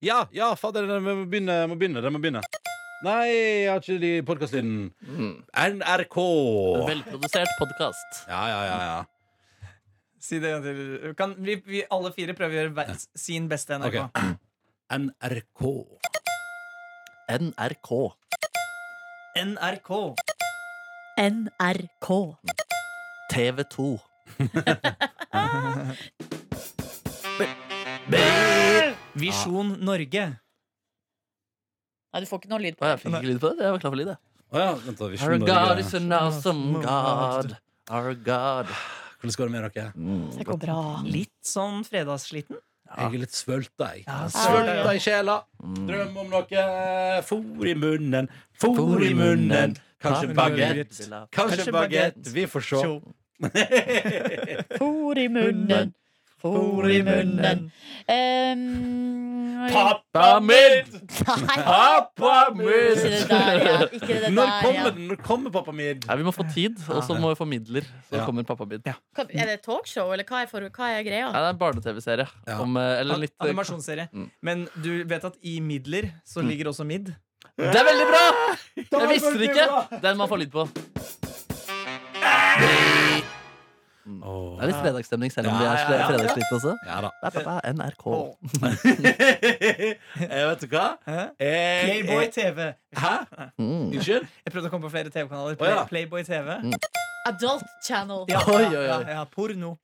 Ja, ja, fader, den må begynne. Må begynne, den må begynne. Nei, jeg har ikke det i podkastlyden. NRK. En velprodusert podkast. Ja, ja, ja. ja. Si det en gang til. Kan vi, vi alle fire prøve å gjøre hver sin beste NRK? Ok. NRK. NRK. NRK. NRK. TV 2. Visjon Ah. Norge. Nei, du får ikke noe lyd Å, på det. jeg fikk ikke lyd på det. Jeg var klar for lyd, jeg. Å ja, vent da, vi Our skjønner God det. is an awesome God. Our God. Hvordan går det med dere? Det går bra. Litt sånn fredagssliten. Jeg er litt svølta, jeg. Ja, Svølta i sjela. Drøm om noe. Fôr i munnen, fôr i munnen. Kanskje Takk. bagett. Kanskje Kanskje bagett. baguette. Vi får se. Sjå. Fôr i munnen, fôr i munnen. Ehm, Pappa min! Nei, Pappa ikke det der, ja. Ikke det der, Når kommer ja. den? Når kommer pappa mid? Nei, vi må få tid, og så må vi få midler. Så Ja. kommer pappa min. Hva- Er det talkshow, eller hva er, for, hva er greia? Nei, det er en barne-TV-serie. Ja. Om, eh, Eller en litt Animasjonsserie. Mm. Men du vet at i midler så ligger også midd. Det er veldig bra! Jeg visste det ikke! Den må man få lyd på. Det Åh. er litt fredagsstemning, selv om det Ja, er ja, ja. fredagsslitt også. Ja da. Det er pappa, NRK. jeg Eh, vet du hva? Eh, Hæ? Eh, Jeg- Playboy jeg- TV. Hæ? Mm. Unnskyld? Jeg prøvde å komme på flere TV-kanaler. Å, ja. Playboy TV. Adult Channel. Ja, Oi, ja, oi, oi. ja, ja, porno.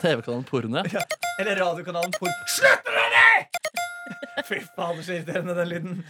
TV-kanalen Porno. ja. Eller radiokanalen Porno. Slutt med det! Fy fader, så irriterende den lyden.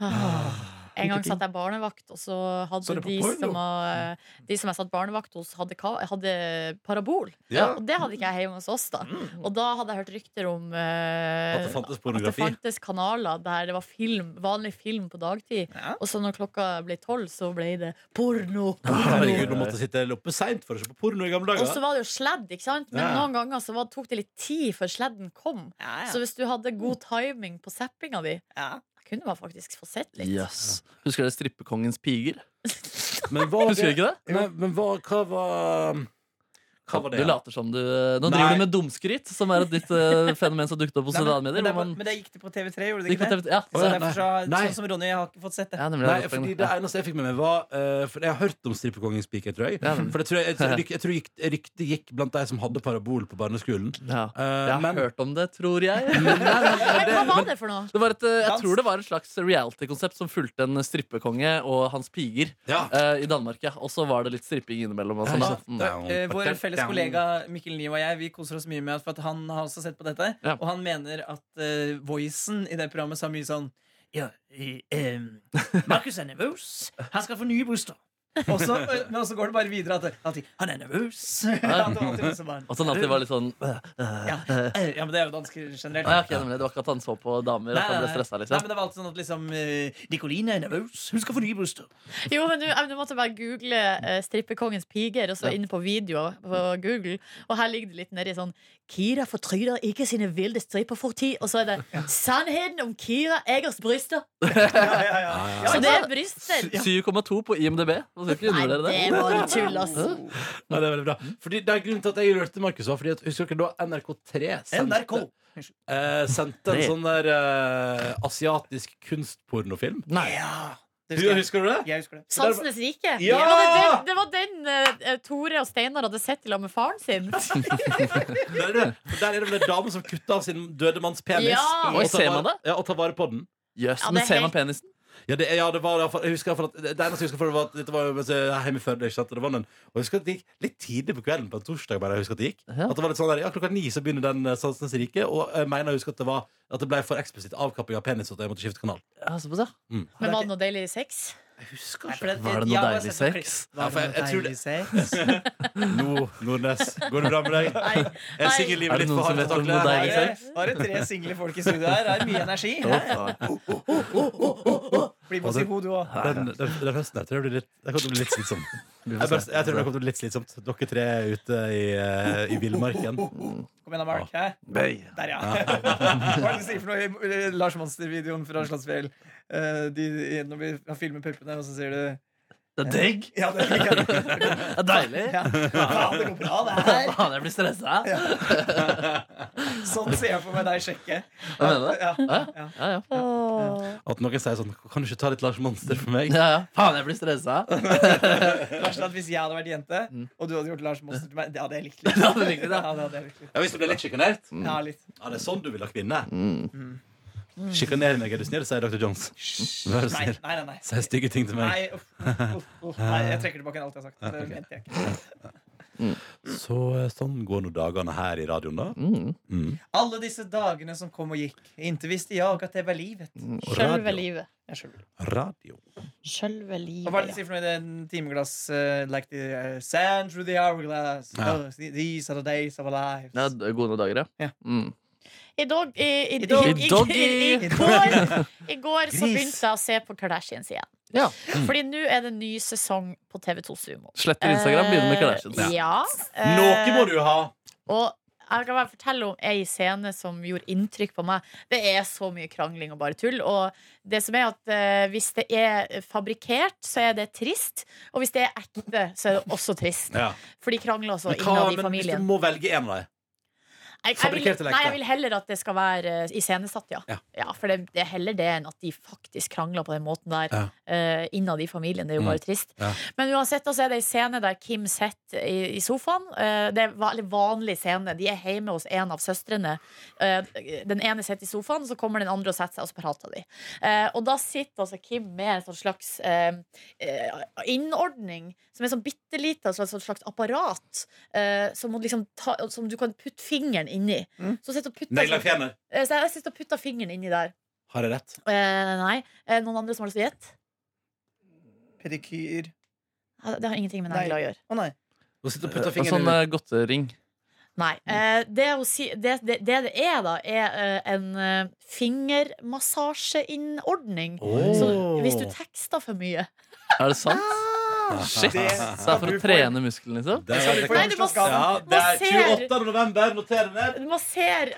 Ah, Ah, En gang satt jeg barnevakt, og så Så hadde det på de porno? som, var- de som jeg satt barnevakt hos, hadde, ka- hadde parabol. Ja. Mm. Og det hadde ikke jeg hjemme hos oss, da. Og da hadde jeg hørt rykter om eh, At det fantes at det pornografi? fantes kanaler der det var film, vanlig film på dagtid. Ja. Og så når klokka ble tolv, så ble det porno. Herregud, du måtte sitte oppe seint for å se på porno i gamle Og så dager. var det jo sledd, ikke sant? Men Ja. noen ganger så var, tok det litt tid før sledden kom. Så hvis du hadde god timing på zappinga di, da kunne man faktisk få sett litt. Yes. Husker dere Strippekongens piger? Men hva Husker dere ikke det? Nei, men hva, hva var Hva var det? Du later som du eh, Nå Nei. driver du med dumskryt, som er et nytt eh, fenomen som dukket opp hos Nei, sosiale men, men, medier. det, hvor man- men det gikk det på TV3, gjorde det Gikk på ikke det? TV ja. Så Å, ja, derfor så, nei. sånn som Ronny, jeg har ikke fått sett det. ja, nemlig, det Nei, er et fordi poeng. det Ja. eneste jeg fikk med meg, var eh, For jeg har hørt om strippekongens pike, tror jeg. Ja, men- For jeg tror, jeg, jeg, tror- jeg tror gikk- ryktet gikk blant de som hadde parabol på barneskolen. Ja. Eh, Jeg har men, hørt om det, tror jeg. men, nei, nei, Men hva men, var det for noe? Det var et, eh, jeg Dansk. tror det var et slags reality-konsept som fulgte en strippekonge og hans piger ja. eh, i Danmark. Ja. Og så var det litt stripping innimellom. Ja, Og sånn, ikke da. sant. Mm. Ja. Eh, vår Down. felles kollega Mikkel Niv og jeg Vi koser oss mye med at, for at han har også sett på dette. Ja. Og han mener at eh, voicen i det programmet sa mye sånn Ja, eh, em, Markus er nervøs. Han skal få nye bryster. Og så, eh, men så går det bare videre at det alltid, han er nervøs. At det alltid liksom bare, Og sånn alltid var litt sånn eh, ja, eh, ja, men det er jo dansker generelt. nei, ok, nemlig, Det var ikke at han så på damer at han ble stressa, Nei, liksom. men det var alltid sånn at liksom eh, Nicoline er nervøs. Hun skal få nye bryster. Jo, men du, jeg- du måtte bare google eh, 'Strippekongens piger' og så Ja. inne på videoer på Google. Og her ligger det litt nedi sånn 'Kira fortryder ikke sine ville striper for tid'. Og så er det 'Sannheten om Kira Egers bryster'. Så det er bryster. Sy- 7,2 på IMDb. Nå skal ikke Nei, undervurdere det det. var litt tull, altså. Ja, det er veldig bra. Mm. Fordi det er grunnen til at jeg rørte Markus også, Fordi at, Husker dere da NRK3 sendte, NRK. eh, sendte en Det. sånn der eh, asiatisk kunstpornofilm? Nei. Ja, det Husker, husker jeg. husker du det? Jeg husker det. Sansenes rike. Ja! Det var den, det var den eh, Tore og Steinar hadde sett i lag med faren sin. Der er det, der er det vel en dame som kutter av sin døde manns penis. Ja! Oi, tar ser vare- man det? Ja, og tar vare på den. Jøss, Ja, det men er ser man helt- penisen? Ja, det, ja, det var i hvert fall- jeg husker i hvert fall at Det eneste jeg husker for det var at Dette var jo mens jeg var hjemme i Førde ikke sant? Og det var noen- Og jeg husker at det gikk litt tidlig på kvelden På en torsdag bare jeg husker at det gikk Ja. At det var litt sånn der Ja, klokka ni så begynner den eh, Sansenes rike Og jeg mener jeg husker at det var At det ble for eksplisitt avkapping av penis Så at jeg måtte skifte kanal Ja, såpass, ja. Men var det noe deilig sex? Jeg husker Nei, for det- Var det noe jeg har bare deilig sett på sex? klipp. Var Ja, for det jeg- jeg tror noe deilig sex? Nå, Nordnes Går det bra med deg? Nei. Jeg Nei. synger Er livet det litt noen for som hardt vet om takle noe Var deilig det, sex? var det tre single folk i studio her? Det er mye energi. Bli med oss i hodet òg. den, den, den høsten her tror jeg blir litt Det kommer til å bli litt slitsom Jeg, bare, jeg tror det kommer til å bli litt slitsomt Dere tre er ute i, eh, i villmarken Kom igjen, da, Mark. Hæ? Der, ja. Hva er det du sier for noe i eh, Lars Monster-videoen fra Slottsfjell? Eh, de- Når vi har filmet puppene, og så sier du Det er digg. Ja, det fikk jeg. Det er deilig. Ja. Faen, det går bra, det her. Faen, jeg blir stressa. Ja. Sånn ser jeg for meg deg sjekke. Hva mener du? Ja. Ja, Ja. ja. ja. At noen sier sånn Kan du ikke ta litt Lars Monster for meg? ja, ja. Faen, jeg blir stressa. Det verste er sånn at Hvis jeg hadde vært jente, og du hadde gjort Lars Monster til meg, det hadde jeg likt litt. Det hadde du likt litt, ja. Ja, det hadde jeg likt litt. Ja, Hvis du blir litt sjikanert? Ja, litt. Ja, det er sånn du vil ha kvinne? Mm. Sjikaner meg, er du snill, sier Dr. Jones. Vær så Nei, snill. nei, nei. nei. Sier stygge ting til meg. Nei, uff, uff, uff, uff. nei, jeg trekker tilbake alt jeg har sagt. Det mente jeg ikke. Så eh, sånn går nå dagene her i radioen, da. Mm. Alle disse dagene som kom og gikk, inntil visste jeg at det var livet. Og Sjølve Mm. radio. livet. Jeg skjønner. radio. Og Sjølve Hva er det livet, de ja. sier for noe i den timeglass eh, Like the eh, sand through the hourglass Ja. oh, These are the days of our lives Ja, d- gode dager, Ja. Mm. I dag I, i, I i, dag- i, doggy. i, i, går, I går så begynte jeg å se på Kardashians igjen. Ja. Fordi nå er det ny sesong på TV2 Sumo. Sletter Instagram, begynner med Eh, Kardashians. Ja. Eh, Noe må du ha! Og jeg kan bare fortelle om ei scene som gjorde inntrykk på meg. Det er så mye krangling og bare tull. Og det som er at eh, hvis det er fabrikkert, så er det trist. Og hvis det er ekte, så er det også trist. Ja. For de krangler også Men, hva, innad i men hvis familien. du må velge en av dem Jeg, jeg, Fabrikkert vil, eller nei, ekte? jeg vil heller at det skal være eh, iscenesatt, ja. Ja. for det, det er heller det enn at de faktisk krangler på den måten der Ja. eh, innad i familien. Det er jo Mm. bare trist. Ja. Men uansett altså, er det en scene der Kim sitter i, i sofaen. eh, det er en veldig vanlig scene. De er hjemme hos en av søstrene. Eh, den ene sitter i sofaen, så kommer den andre og setter seg, og så prater de. Eh, og da sitter altså Kim med en sånn slags eh, eh, innordning, som er sånn bitte lite, altså et sånt slags apparat, eh, som, må liksom ta, som du kan putte fingeren inni. Mm. Så sitter og putter, Negler og fjener. Eh, så jeg sitter og putter fingeren inni der. Har jeg rett? Eh, nei. Eh, noen andre som har lyst til å gjette? Pedikyr Ja, Ah, Det har ingenting med Nei. negler å gjøre. Å nei Hun sitter og putter En fingeren sånn inn i eh, godtering. Nei. Mm. Eh, det, hun si- det, det, det det er, da, er eh, en eh, fingermassasjeinnordning. Så Åh. hvis du tekster for mye Er det sant? Shit! Så det Ah. er for Det skal å du få. trene muskelen, liksom? Der Skal er du det få Nei, du må- bursdagsgave? Ja, det er Hva ser- 28. november. Noter det ned. Man ser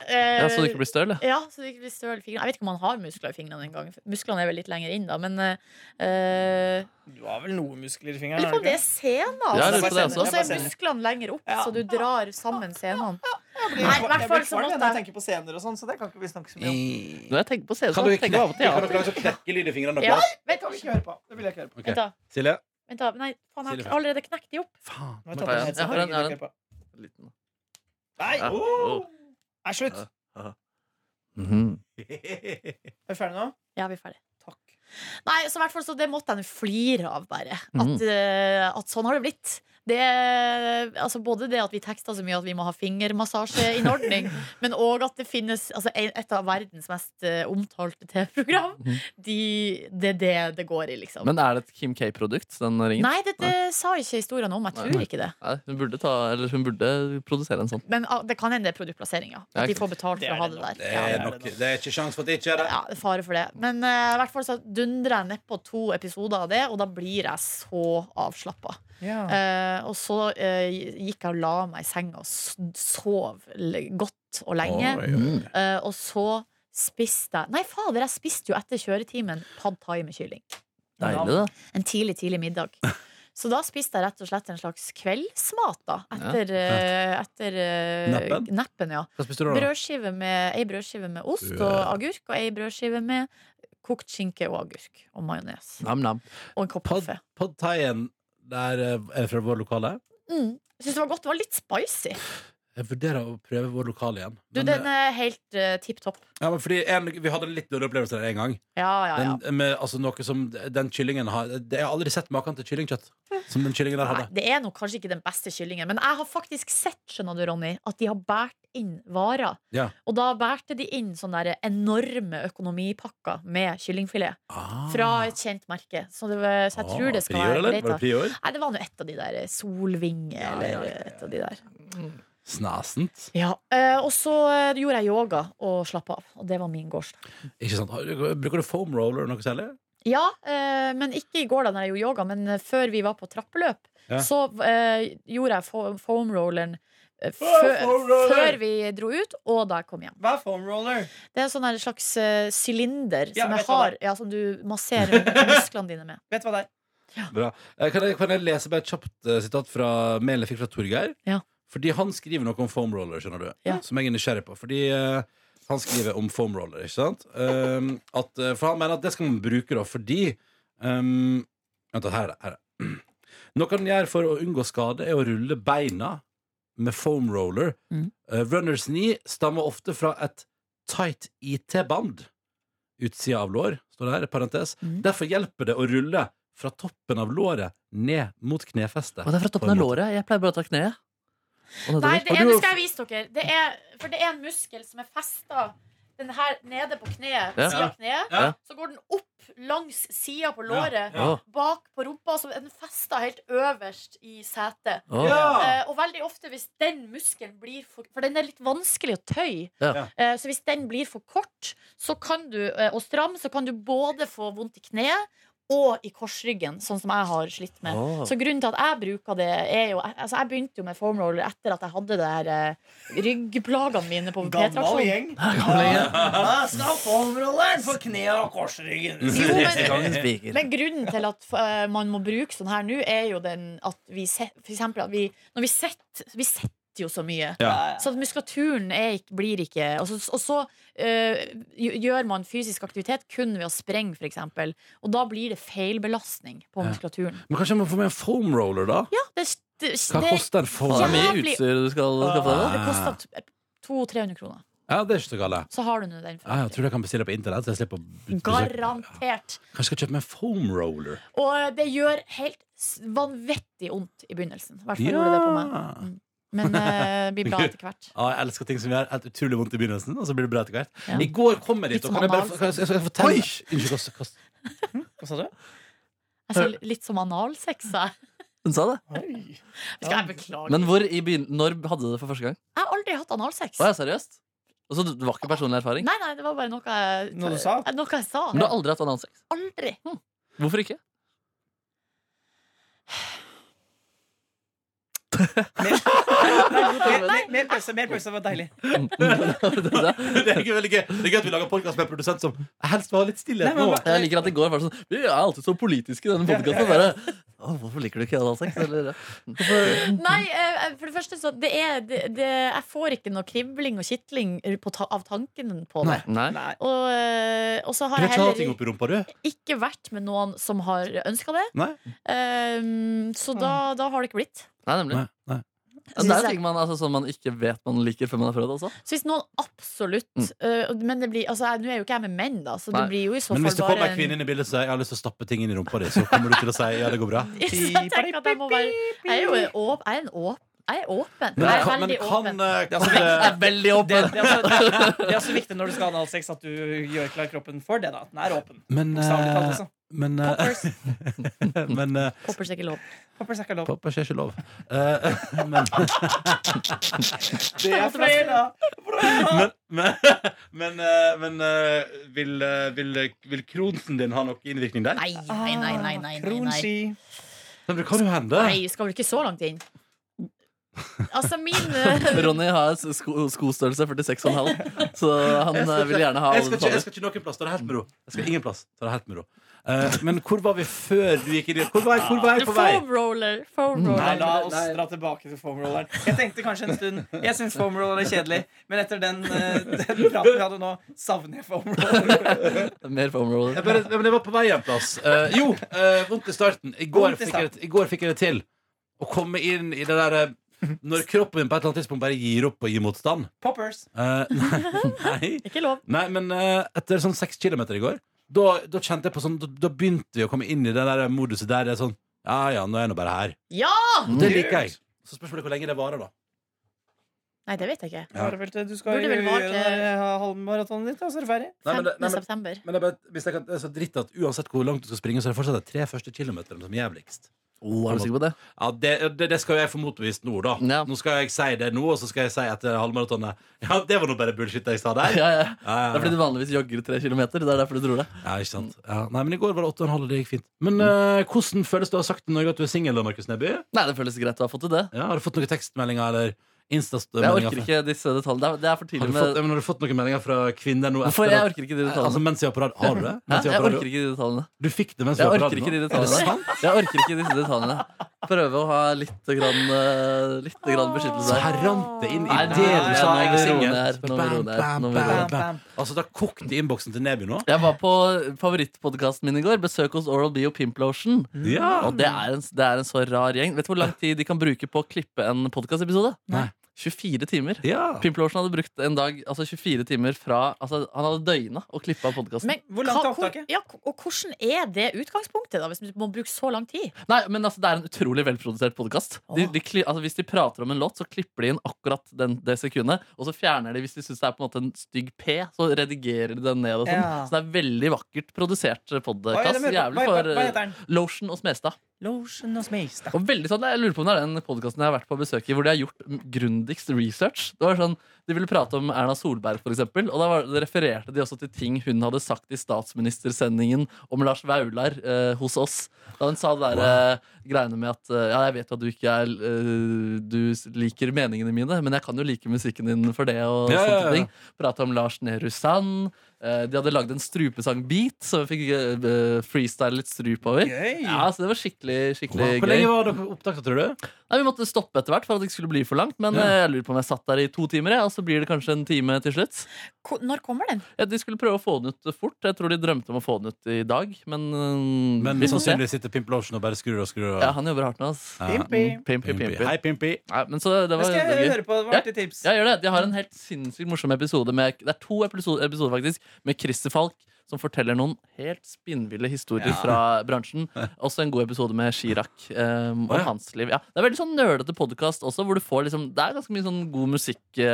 Ja, eh, så du ikke blir støl? ja. Ja, så det ikke blir støl i fingrene. Jeg vet ikke om man har muskler i fingrene engang. Musklene er vel litt lenger inn, da, men eh, eh, Du har vel noe muskler i Jeg fingeren lurer på om har du det er Ja, sener. jeg altså. lurer på det også. Og så Jeg er bare ser- musklene lenger opp, Ja. så du drar sammen senene. ikke? Nei, i Jeg hvert fall blir så kvalm måtte når jeg jeg- tenker på scener og sånn Så det kan ikke vi snakke så mye om Når jeg tenker på scenen, Kan så du sånn. tenker jeg bare på knekke, kan teater. dere klare å knekke lyd i fingrene? Ja, deres? Det kan vi ikke høre på Det vil jeg ikke høre på Ok. Vent, da. Silje? Vent da. Nei, faen, jeg har allerede knekt de opp. Faen. Nå har jeg sånn tatt på Ja, headset, jeg har den, det vil jeg jeg ikke høre på. Liten. Nei, Ja. oh. Nei, slutt Ja. Er Mhm. vi ferdige nå? Ja, vi er ferdig. Takk Nei, så i hvert fall så det måtte jeg nå flire av, bare. At, Mhm. eh, at sånn har det blitt. Det, altså både det at vi tekster så mye at vi må ha fingermassasjeinnordning, men òg at det finnes altså, en- et av verdens mest eh, omtalte TV-program. De, det er det det går i, liksom. Mhm. Men er det et Kim K-produkt, den ringen? Nei, dette sa ikke historien om. Jeg tror Nei. ikke det. Nei, hun, burde ta, eller hun burde produsere en sånn. Men ah, det kan hende det er produktplassering, ja. Ja, At de ok. får betalt Det for er å ha det det nok. der. Det Ja. er, nok, det er ikke sjans for at det ikke er det. Ja, det er fare for det. Men eh, i hvert fall så dundrer jeg nedpå to episoder av det, og da blir jeg så avslappa. ja. Eh, og så eh, gikk jeg og la meg i senga og s- sov l- godt og lenge. Oi, oi, oi. Eh, og så spiste jeg Nei, fader, jeg spiste jo etter kjøretimen pad thai med kylling. Deilig, da. En tidlig, tidlig middag. Så da spiste jeg rett og slett en slags kveldsmat, da. Etter, eh, etter eh, Neppen? neppen. Ja. Hva spiste du da? Brødskive med, ei brødskive med ost og Ja. agurk, og ei brødskive med kokt skinke og agurk. Og majones. Nam-nam. Og en kopp Pad, kaffe. pad thaien der eh, er fra vår lokale. Mm. Jeg Syns det var godt. Det var litt spicy. Jeg vurderer å prøve vår lokale igjen. Du, Men, den eh, er helt uh, tipp topp. ja, men fordi en, vi hadde en litt dårlig opplevelse der en gang. Ja, ja, ja. Den, med, altså, noe som den kyllingen har Jeg har aldri sett maken til kyllingkjøtt som den kyllingen der Nei, hadde. det er nok kanskje ikke den beste kyllingen, men jeg har faktisk sett, skjønner du, Ronny, at de har båret inn varer. Ja. Og da bærte de inn sånne der enorme økonomipakker med kyllingfilet. Ah. Fra et kjent merke. Så, det, var- så jeg tror det skal prior, være eller? greit. Var da. det prior? Nei, det var nå et av de der Solvinge Ja, eller ja, ja, ja. et av de der. Snasent. Ja, eh, Og så eh, gjorde jeg yoga og slappa av. Og det var min gårsdag. Ikke sant? Har du- Bruker du foam roller eller noe særlig? Ja, eh, men ikke i går da når jeg gjorde yoga, men eh, før vi var på trappeløp, Ja. så eh, gjorde jeg fo- foamrolleren eh, foam før, roller! før vi dro ut, og da jeg kom hjem. Hva er foam roller? Det er en sånn her slags eh, sylinder Ja, som jeg jeg vet hva har, ja, som du masserer musklene dine med. Vet du hva det er? Bra. Eh, Kan jeg, kan jeg lese bare et kjapt eh, sitat fra mailen jeg fikk fra Torgeir? Ja. Fordi han skriver noe om foam roller, skjønner du. Ja. Som jeg er nysgjerrig på. Fordi eh, han skriver om foam roller, ikke sant? Um, at, eh, for han mener at det skal man bruke da, fordi um, Vent, da, her er det. Her er det. Noe han gjør for å unngå skade, er å rulle beina med foam roller. Mm. Eh, runners knee stammer ofte fra et tight IT-band. Utsida av lår, står det her, i parentes. Mm. Derfor hjelper det å rulle fra toppen av låret ned mot knefestet. Og det er fra toppen av låret. Jeg pleier bare å ta kneet. Og Nei, nedover. det Har er, du- nå skal jeg vise dere. Det er, for det er en muskel som er festa den her nede på kneet. Ja. Siden av kneet. Ja. Så går den opp langs sida på låret. Å, Bak på rumpa, så er den festa helt øverst i setet. å. Ja! Eh, og veldig ofte hvis den muskelen blir for For den er litt vanskelig å tøye. Ja. Eh, så hvis den blir for kort så kan du, eh, og stram, så kan du både få vondt i kneet og i korsryggen, sånn som jeg har slitt med. Å. Så grunnen til at jeg bruker det, er jo Altså, jeg begynte jo med foam roller etter at jeg hadde det her eh, ryggplagene mine på Gammal P-traksjon. gjeng. Ja, skal formrolleren for knærne og korsryggen. Jo, Siste men, gangen spiker. men grunnen til at eh, man må bruke sånn her nå, er jo den at vi se- For eksempel at vi Når vi sitter Vi sitter jo så mye. Ja. Så at muskulaturen er ikke, blir ikke Og så, og så eh, gj- gjør man fysisk aktivitet kun ved å sprenge, f.eks. Og da blir det feilbelastning på Ja. muskulaturen. Men kanskje jeg må få med en foam roller, da? Ja, det, det, Hva det, koster en foam Faen, roller? det er mye jævlig- utstyr du skal skaffe deg. da. det koster t- 200-300 kroner. Ja, det er ikke så galt. Så har du nå den. for Ja, jeg tror jeg kan bestille på internett. Så jeg slipper å Kanskje Garantert. jeg skal kjøpe meg en foam roller. Og det gjør helt s- vanvittig vondt i begynnelsen. I hvert fall Ja. gjorde det på meg. Mm. Men eh, blir bra etter hvert. Ja, jeg elsker ting som gjør helt utrolig vondt i begynnelsen, og så blir det bra etter hvert. Ja. I går kom jeg dit, Litt og som kan jeg bare anal. kan jeg, skal jeg fortelle Unnskyld, kast, kast. Hva sa du? Jeg ser litt som analsex. jeg. Hun sa det. Skal jeg beklage? Men hvor i begyn- når hadde du det for første gang? Jeg har aldri hatt analsex. Å, ja, seriøst? Og så det var ikke personlig erfaring? Nei, nei, det var bare noe jeg Noe du sa? Eh, Noe jeg sa. Men du har aldri hatt analsex? Aldri. Hvorfor ikke? Nei, Mer pause, mer pause. Det var deilig. Mm. Det er gøy, veldig gøy Det er gøy at vi lager podkast med en produsent som helst vil ha litt stillhet Nei, men nå. Jeg liker at det går bare sånn Vi er alltid så politiske i denne podkasten. Bare «Å, Hvorfor liker du ikke analsex? Eller Nei, eh, for det første så det er, det, det, Jeg får ikke noe kribling og kitling på ta, av tanken på det. Nei. Nei. Og, eh, og så Du har vil jeg ikke ha ting heller oppi rumpa, du? ikke vært med noen som har ønska det. Nei? Um, så da, da har det ikke blitt. Nei, nemlig. Nei, nei. Ja, Det er ting man, altså, som man ikke vet man liker før man har prøvd. Altså. Så hvis noen absolutt Mm. øh, Men det blir, altså, jeg- nå er jo ikke jeg med menn, da, så Nei. det blir jo i så Men hvis det fall kommer bare en kvinne inn i bildet og sier 'jeg har lyst til å stappe ting inn i rumpa di', så kommer du til å si 'ja, det går bra'? Så jeg tenker at jeg må være Jeg er jo åp, jeg er en åp, jeg er åpen. jeg er kan, veldig åpen. eh, kan Jeg det er veldig Det, åpen! det, er også, det er også viktig når du skal ha analsex, at du gjør klar kroppen for det. da At den er åpen. Men, Bokstavelig talt, eh, altså. men, eh, Poppers, men eh, poppers er ikke lov. Poppers er ikke lov. Pappa sier ikke lov. Eh, men, Det er fredag! men, men, men, eh, men eh, vil, eh, vil, vil kronsen din ha noe innvirkning der? Nei, nei, nei, nei, nei, nei, nei. Kronski. Men det kan jo hende. Nei, vi skal vel ikke så langt inn? Altså, min Ronny har sko skostørrelse 46,5, så han Jeg skal eh, vil gjerne ha ikke- jeg skal, ikke, alle jeg detaljer. skal ikke noen plass. Ta det helt med ro. Jeg skal ingen plass. Ta det helt med ro. Eh, men hvor var vi før du gikk inn i Hvor var jeg, hvor var jeg på vei? Mm. foam roller. Foam roller. Nei, la oss dra tilbake til foamrolleren. Jeg tenkte kanskje en stund Jeg syns foamroller er kjedelig, men etter den, eh, den praten vi hadde nå, savner jeg foamroller. Mer foam roller. Jeg, bare, ja, men jeg var på vei en plass. Eh, jo, eh, vondt i starten. I går, Vondt i Fikk jeg, det- I går fikk jeg det til. Å komme inn i det derre Når kroppen min på et eller annet tidspunkt bare gir opp og gir motstand. Poppers. Eh, nei, Ikke lov. nei, men eh, etter sånn seks kilometer i går, da, da kjente jeg på sånn Da, da begynte vi å komme inn i det der moduset der det er sånn Ja ja, nå er jeg nå bare her. Ja! Ah. Og det liker jeg. Så spørsmålet er hvor lenge det varer, da. Nei, det vet jeg ikke. Ja. Bare vel til- Du skal Burde jo vel vare gjøre til- det halvmaratonet ditt, og så er du ferdig. Nei, men 15. det- nei, men- september. Men jeg bare, hvis jeg kan, det er så dritt at uansett hvor langt du skal springe, så er det fortsatt de tre første kilometerne som er jævligst. Oh, er du sikker på det? Ja, det, det, det skal jo jeg få motbevist nå, da. Ja. Nå skal jeg si det nå, og så skal jeg si etter halvmaratonet Ja, det var nå bare bullshit jeg sa der. Ja, ja. Ja, Det er ja, fordi du vanligvis jogger tre kilometer. Det er derfor du tror det. ja. ja, ikke sant. Mm. Ja. Nei, men i går var det åtte og en halv, og det gikk fint. Men Mm. eh, hvordan føles det å ha sagt til Norge at du er singel, da, Markus Neby? Nei, det føles greit å ha fått til det. Ja, har du fått noen tekstmeldinger eller Jeg Insta-meldinger orker ikke disse detaljene. Det er- Det er for altså. Har tidlig du, fått, med ja, men har du fått noen meldinger fra kvinner nå? Hvorfor? etter Jeg at- orker ikke de Altså detaljene. mens vi har på radio? Har du det? Mens vi Hæ? har Jeg på radio? orker ikke de detaljene. Du fikk det mens vi Jeg var på orker radio? ikke de nå? Er det sant? detaljene. Jeg orker ikke disse detaljene. Prøve å ha litt, grann, eh, litt grann beskyttelse Så her. her rant det inn i Nei, nei, det du nei, sa nei, i nå roer jeg her, nå roer jeg her, nå roer jeg her. singen. Altså, det har kokt i innboksen til Neby nå. Jeg var på favorittpodkasten min i går. Besøk hos Oral B og Pimplotion. Ja. Og det er, en, det er en så rar gjeng. Vet du hvor lang tid de kan bruke på å klippe en podkastepisode? Nei. 24 timer. ja. Pimplotion hadde brukt en dag, altså 24 timer fra altså Han hadde døgna og klippa podkasten. Men Hvor langt er hva- hvor- opptaket? Ja, og hvordan er det utgangspunktet, da, hvis du må bruke så lang tid? Nei, men altså, det er en utrolig velprodusert podkast. De, Åh. de, kli- altså, hvis de prater om en låt, så klipper de inn akkurat den, det sekundet. Og så fjerner de hvis de syns det er på en måte en stygg P, så redigerer de den ned. Og sånn. Ja. Så det er veldig vakkert produsert Hva er podkast. det med- hva- Jævlig hva- for hva eh, heter den? Lotion og Smestad. Lotion og Smestad. Og veldig sånn, Jeg lurer på om det er den podkasten jeg har vært på besøk i, hvor de har gjort m- grundigst research. Det var sånn, De ville prate om Erna Solberg, for eksempel, og da var, det refererte de også til ting hun hadde sagt i statsministersendingen om Lars Vaular eh, hos oss. Da hun sa det der, eh, greiene med at eh, Ja, jeg vet at du ikke er eh, Du s- liker meningene mine, men jeg kan jo like musikken din for det. og Ja, ja, ja. sånne ting. Prata om Lars Nehru Sand. Eh, de hadde lagd en strupesang-beat, så vi fikk eh, freestyle litt strup over. Gøy. Ja, så det var skikkelig, Hvor skikkelig gøy. Mm. lenge var dere opptatt, tror du? Nei, Vi måtte stoppe etter hvert for at det ikke skulle bli for langt. Men Ja. eh, jeg lurer på om jeg satt der i to timer, jeg, og så blir det kanskje en time til slutt. Ko- Når kommer den? Ja, de skulle prøve å få den ut fort. Jeg tror de drømte om å få den ut i dag, men, eh, Men vi får se. sannsynligvis sitter Pimp Lotion og bare skrur og skrur. Og... Ja, han jobber hardt nå, ass. Ja. Pimpi. Mm, Pimpi, Pimpi. pimpi. Hei, Pimpi. Nei, men så det Det var, skal det var jeg gøy. høre på. Det var Ja. artig tips. Ja, gjør det. De har en helt sinnssykt morsom episode med Det er to episo- episoder, faktisk, med Christer Falk. Som forteller noen helt spinnville historier fra bransjen. Også en god episode med Chirag eh, om Å, ja. hans liv. Ja, det er veldig sånn nerdete podkast også, hvor du får liksom Det er ganske mye sånn god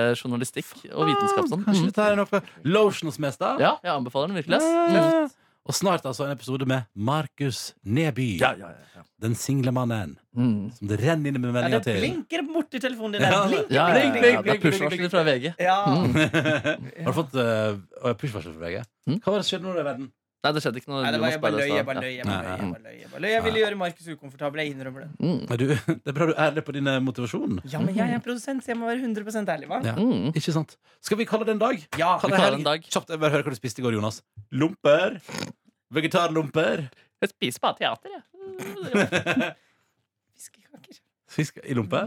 musikkjournalistikk og vitenskap sånn. Kanskje Mm. dette her er noe Lotions mest, da? sånn. Ja, jeg anbefaler den Ja, virkelig. ja, Ass. ja. Og snart altså en episode med Markus Neby. Ja, ja, ja, ja. Den single mannen Mm. som det renner inn med Ja, meninger det til. blinker borti telefonen din. der. Ja. Blinker, Ja, ja, blinker, ja, ja. Det blinker, er push-varsler fra VG. Ja. Mm. Har du fått uh, pushvarsel fra VG? Mm. Hva var det som skjedde nå i verden? Nei, det skjedde ikke noe. Nei, det var, jeg bare Jonas Berre løy, jeg bare sa- løy. Jeg bare løy, jeg bare løy, jeg bare løy. Jeg ville gjøre Markus ukomfortabel. Jeg innrømmer det. Ja. Mm. Nei, du, det er bra du er ærlig på din eh, motivasjon. Ja, men jeg er produsent, så jeg må være 100 ærlig, hva? Ja. Mm. Ikke sant? Skal vi kalle det en dag? Ja. Kalle vi kaller det en dag. Kjapt, eh, bare hør hva du spiste i går, Jonas. Lomper. Vegetarlomper. Jeg spiser bare teater, jeg. Fiskekaker. Fisk i lompe.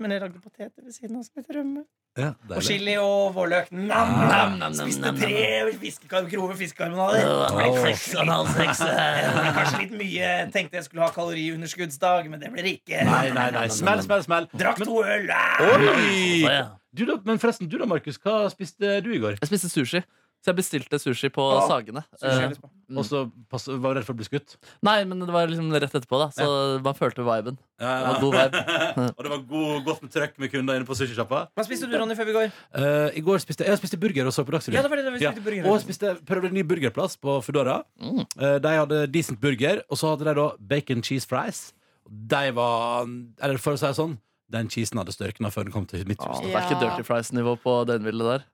Men jeg lagde poteter ved siden av som heter rømme. Ja, deilig. Og chili og vårløk. Nam, Ah. nam, nam, Spiste tre fiskekar grove fiskekarbonade. Det ble kanskje- det ble kanskje litt mye. Tenkte jeg skulle ha kaloriunderskuddsdag, men det blir det ikke. Nei, nei, nei. Smell, smell, smell. Drakk to øl. ah! Så, Oi! ja. Du da, men forresten, du da, Markus. Hva spiste du i går? Jeg spiste sushi, så jeg bestilte sushi på Åh, Sagene. Så skjer det Eh, på. Mm. Og så pass- var du redd for å bli skutt? nei, men det var liksom rett etterpå, da, så man følte viben. Det var god vibe. Og det var god, godt med trøkk med kunder inne på sushisjappa? Hva spiste du, Ronny, før vi går? Eh, I går spiste jeg spiste burger og så på Dagsrevyen. Ja, det var det da vi spiste burger. Og spiste, prøvde en ny burgerplass på Foodora. Mm. Eh, De hadde decent burger, og så hadde de da bacon cheese fries. De var Eller for å si det sånn, den cheesen hadde størkna før den kom til Ah. mitt hus. Det er ikke Dirty Fries-nivå på døgnhvile der.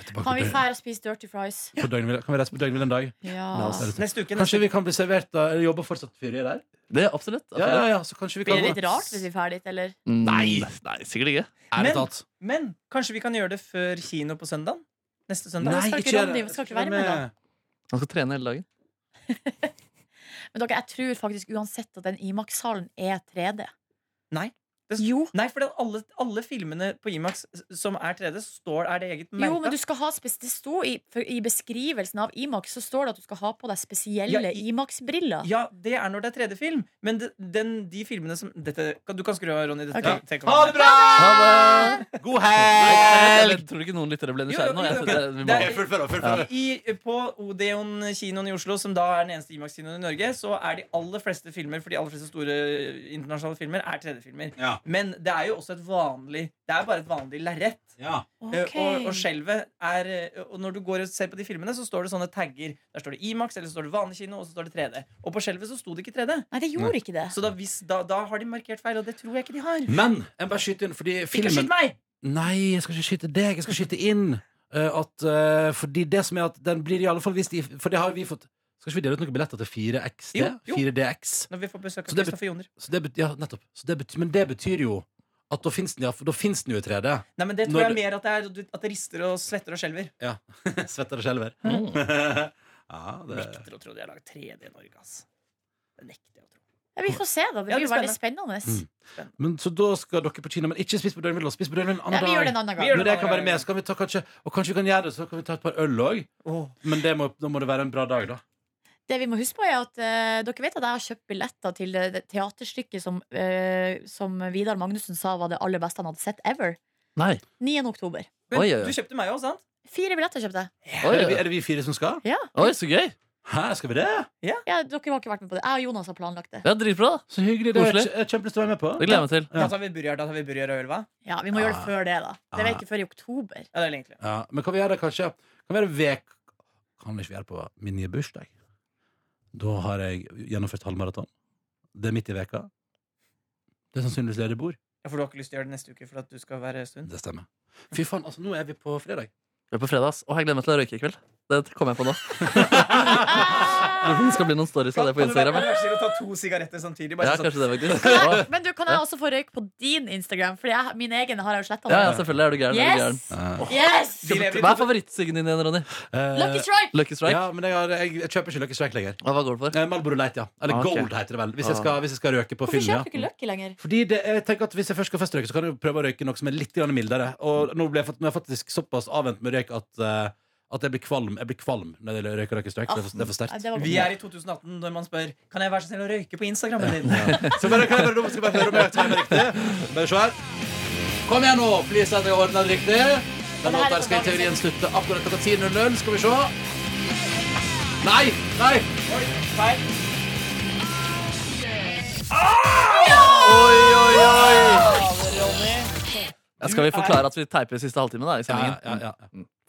Tilbake Kan vi på døgn- fære og spise dirty fries? på døgnhvile. Kan vi reise på døgnhvile en dag? Ah. Ja. Neste uke. sånn. Kanskje Neste. vi kan bli servert da, Eller jobber fortsatt fyrer der? Det er absolutt. Ja, absolutt. ja, ja, så kanskje vi Blir kan det litt rart hvis vi drar dit, eller? Mm, Nei, nei, sikkert ikke. Ærlig Men- talt. Men kanskje vi kan gjøre det før kino på søndag? Neste søndag? Nei. skal ikke gjør Ronny, det. vi skal ikke være med da. Han skal trene hele dagen. Men dere, jeg tror faktisk uansett at den Imax-salen er 3D. Nei. Det- Jo. Nei, for det- alle, alle filmene på Imax som er 3D, så står, er det eget merke. Jo, men du skal ha spes det sto i, for, I beskrivelsen av Imax så står det at du skal ha på deg spesielle Ja, i- Imax-briller. Ja, det er når det er 3D-film. Men det- den, de filmene som dette, kan- Du kan skru av, Ronny. Dette, Ok. ja, tenk om- Ha det bra! Ha det! God Nei, jeg helg! vet- tror du ikke noen lyttere ble Jo, nysgjerrige jo, nå? Jeg jo, synes jo. det, vi Det må. er- Fullfør, da. fullfør. I, på Odeon-kinoen i Oslo, som da er den eneste Imax-kinoen i Norge, så er de aller fleste filmer for de aller fleste store eh, internasjonale filmer er 3D-filmer. Ja. Men det er jo også et vanlig Det er bare et vanlig lerret. Ja. Eh, Ok. Og, og skjelvet er eh, Og når du går og ser på de filmene, så står det sånne tagger. Der står det Imax, eller så står det vanlig kino, og så står det 3D. Og på skjelvet så sto det ikke 3D. Nei, det gjorde ikke det. Så da, hvis, da, da har de markert feil, og det tror jeg ikke de har. Men jeg må bare skyter inn, fordi Ikke filmen skyt meg! Nei, jeg skal ikke skyte deg, jeg skal skyte inn. eh, at, eh, fordi det som er at den blir i alle fall vist i For det har vi fått Skal ikke vi dele ut noen billetter til 4XD? Jo, jo. 4DX. Når vi får besøk Så av det bet- Kristoffer Joner. Så det bet, ja, nettopp. Så det bet, men det betyr jo At da fins den, ja, for da finnes den jo i 3D. Nei, men Det tror Når jeg du- mer at det, er, at det rister og svetter og skjelver. Ja. Svetter og skjelver. Mm. ja, det Nekter å tro de har lagd 3D i Norge, ass. Det nekter jeg å tro. Ja, vi får se, da. Det Ja, blir det jo er veldig spennende. Mm. Men Så da skal dere på kino, men ikke spis på døgnvill. Spis på døgnvill en Ja, annen vi gjør dag. det en Vi annen gang. gjør det. Når jeg kan være med, så kan vi ta kanskje Og kanskje vi kan gjøre det, så kan vi ta et par øl òg. Men det må, da må det være en bra dag, da. Det vi må huske på, er at eh, dere vet at jeg har kjøpt billetter til det, det teaterstykket som, eh, som Vidar Magnussen sa var det aller beste han hadde sett ever. Nei. 9. oktober. Men Oi, oi, oi. du kjøpte meg òg, sant? Fire billetter kjøpte jeg. Oi, Er det, vi, er det vi fire som skal? oi, så gøy. Hæ, skal vi det? Ja, dere har ikke vært med på det. Jeg og Jonas har planlagt det. Ja, Dritbra. da. Så hyggelig. Det er Koselig. jeg kjempelyst til å være med på. Det gleder jeg meg til. Ja. Da tar vi burger da tar vi burger og øl, hva? Ja, Vi må gjøre det før det, da. Det er Ah. ikke før i oktober. Ja, det er egentlig Ja, men kan vi gjøre det kanskje Kan vi gjøre vek Kan ikke vi gjøre det på min nye bursdag Da har jeg gjennomført halvmaraton Det er midt i veka Det er sannsynligvis der jeg bor ja, For du har ikke lyst til å gjøre det neste uke for at du skal være stund? Det stemmer Fy faen, altså nå er vi på fredag Vi er på fredag. ass. Å, jeg gleder meg til å røyke i kveld. Det kommer jeg på nå. Ah. Det skal bli noen stories av det på Kan du være- Instagram. eller? kanskje å ta to sigaretter samtidig? Bare Ja, sånn, kanskje det, faktisk. Kan Å, jeg, men du, kan jeg også få røyk på din Instagram? For jeg, min egen har jeg jo sletta. Ja, ja, selvfølgelig er du gæren. Er du gæren. Yes! yes! Vi lever i Hva er to- favorittsiggen din igjen, Ronny? Eh, Lucky strike! Lucky Strike? Ja, men jeg, har, jeg, jeg kjøper ikke Lucky Strike lenger Hva går det for? Eh, Marlboro Light, ja Eller Ah, ok. Gold heter det vel Hvis jeg skal, hvis jeg skal røke på Hvorfor film ja. kjøper du ikke Lucky lenger? Fordi det, jeg tenker at Hvis jeg først skal festrøyke, så kan jeg jo prøve å røyke noe som er litt grann mildere. Og nå ble jeg, fakt- nå er jeg faktisk såpass avvent med røyk at, eh, at jeg blir kvalm Jeg blir kvalm når jeg røyker Lucky Strike. Det er for, det er for Nei, sterkt. det var Vi sånn. er godt. i 2018 når man spør Kan jeg være så snill å røyke på Instagrammen din. Så bare, kan jeg bare, nå skal jeg bare høre om jeg timer riktig. Bare se her. Kom igjen nå, please, at jeg ordner det riktig. Den låta her skal i teorien slutte akkurat klokka 10.00. Skal vi se. Nei! Nei! Oi, feil. Ah! Oi, oi, oi! Ja, skal vi forklare at vi teiper i siste halvtime da, i Ja, sendingen? ja, ja, ja.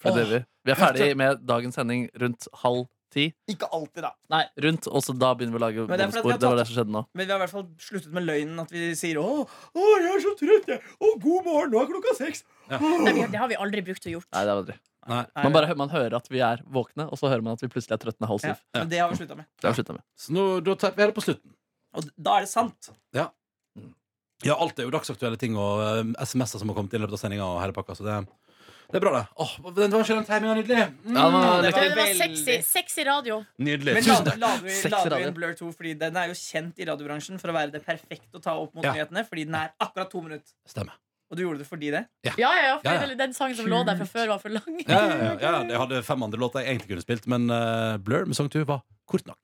For det gjør vi. vi er ferdig med dagens sending rundt halv ti. Ikke alltid, da. Nei, rundt, og så da begynner vi å lage Men det er fordi at vi bonusspor. har Det var tatt- det som skjedde nå. Men vi har i hvert fall sluttet med løgnen at vi sier å, å jeg er så trøtt, jeg. Å, god morgen, nå er klokka seks. Nei, vi- Det har vi aldri brukt og gjort. Nei, det var aldri. Nei, Man, bare, hø- man hører at vi er våkne, og så hører man at vi plutselig er trøtte med halv ja, syv. men Det har vi slutta med. Det har vi sluttet med. så nå, da tar vi det på slutten. Og da er det sant. Ja, alt er jo dagsaktuelle ting og eh, SMS-er som har kommet inn i løpet av sendinga og hele pakka, så det, det er bra, det. Åh, den var ikke den timinga nydelig? Mm. Ja, men, det Det var var veldig- sexy, sexy radio. Nydelig. Men Tusen lader, takk. lader, vi, Seks lader vi radio. en Blur 2, fordi den er jo kjent i radiobransjen for å være det perfekte å ta opp mot Ja. nyhetene, fordi den er akkurat to minutter. Stemmer. Og du gjorde det fordi det? Ja, ja, ja, for Ja, ja. det- Den sangen som lå der fra før, var for lang. Ja, ja, ja, ja, jeg hadde fem andre låter jeg egentlig kunne spilt, men eh, Blur med Song 2 var kort nok.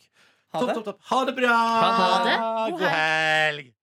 Ha Topp, det. topp, topp. Ha det bra! Ha det. God God helg!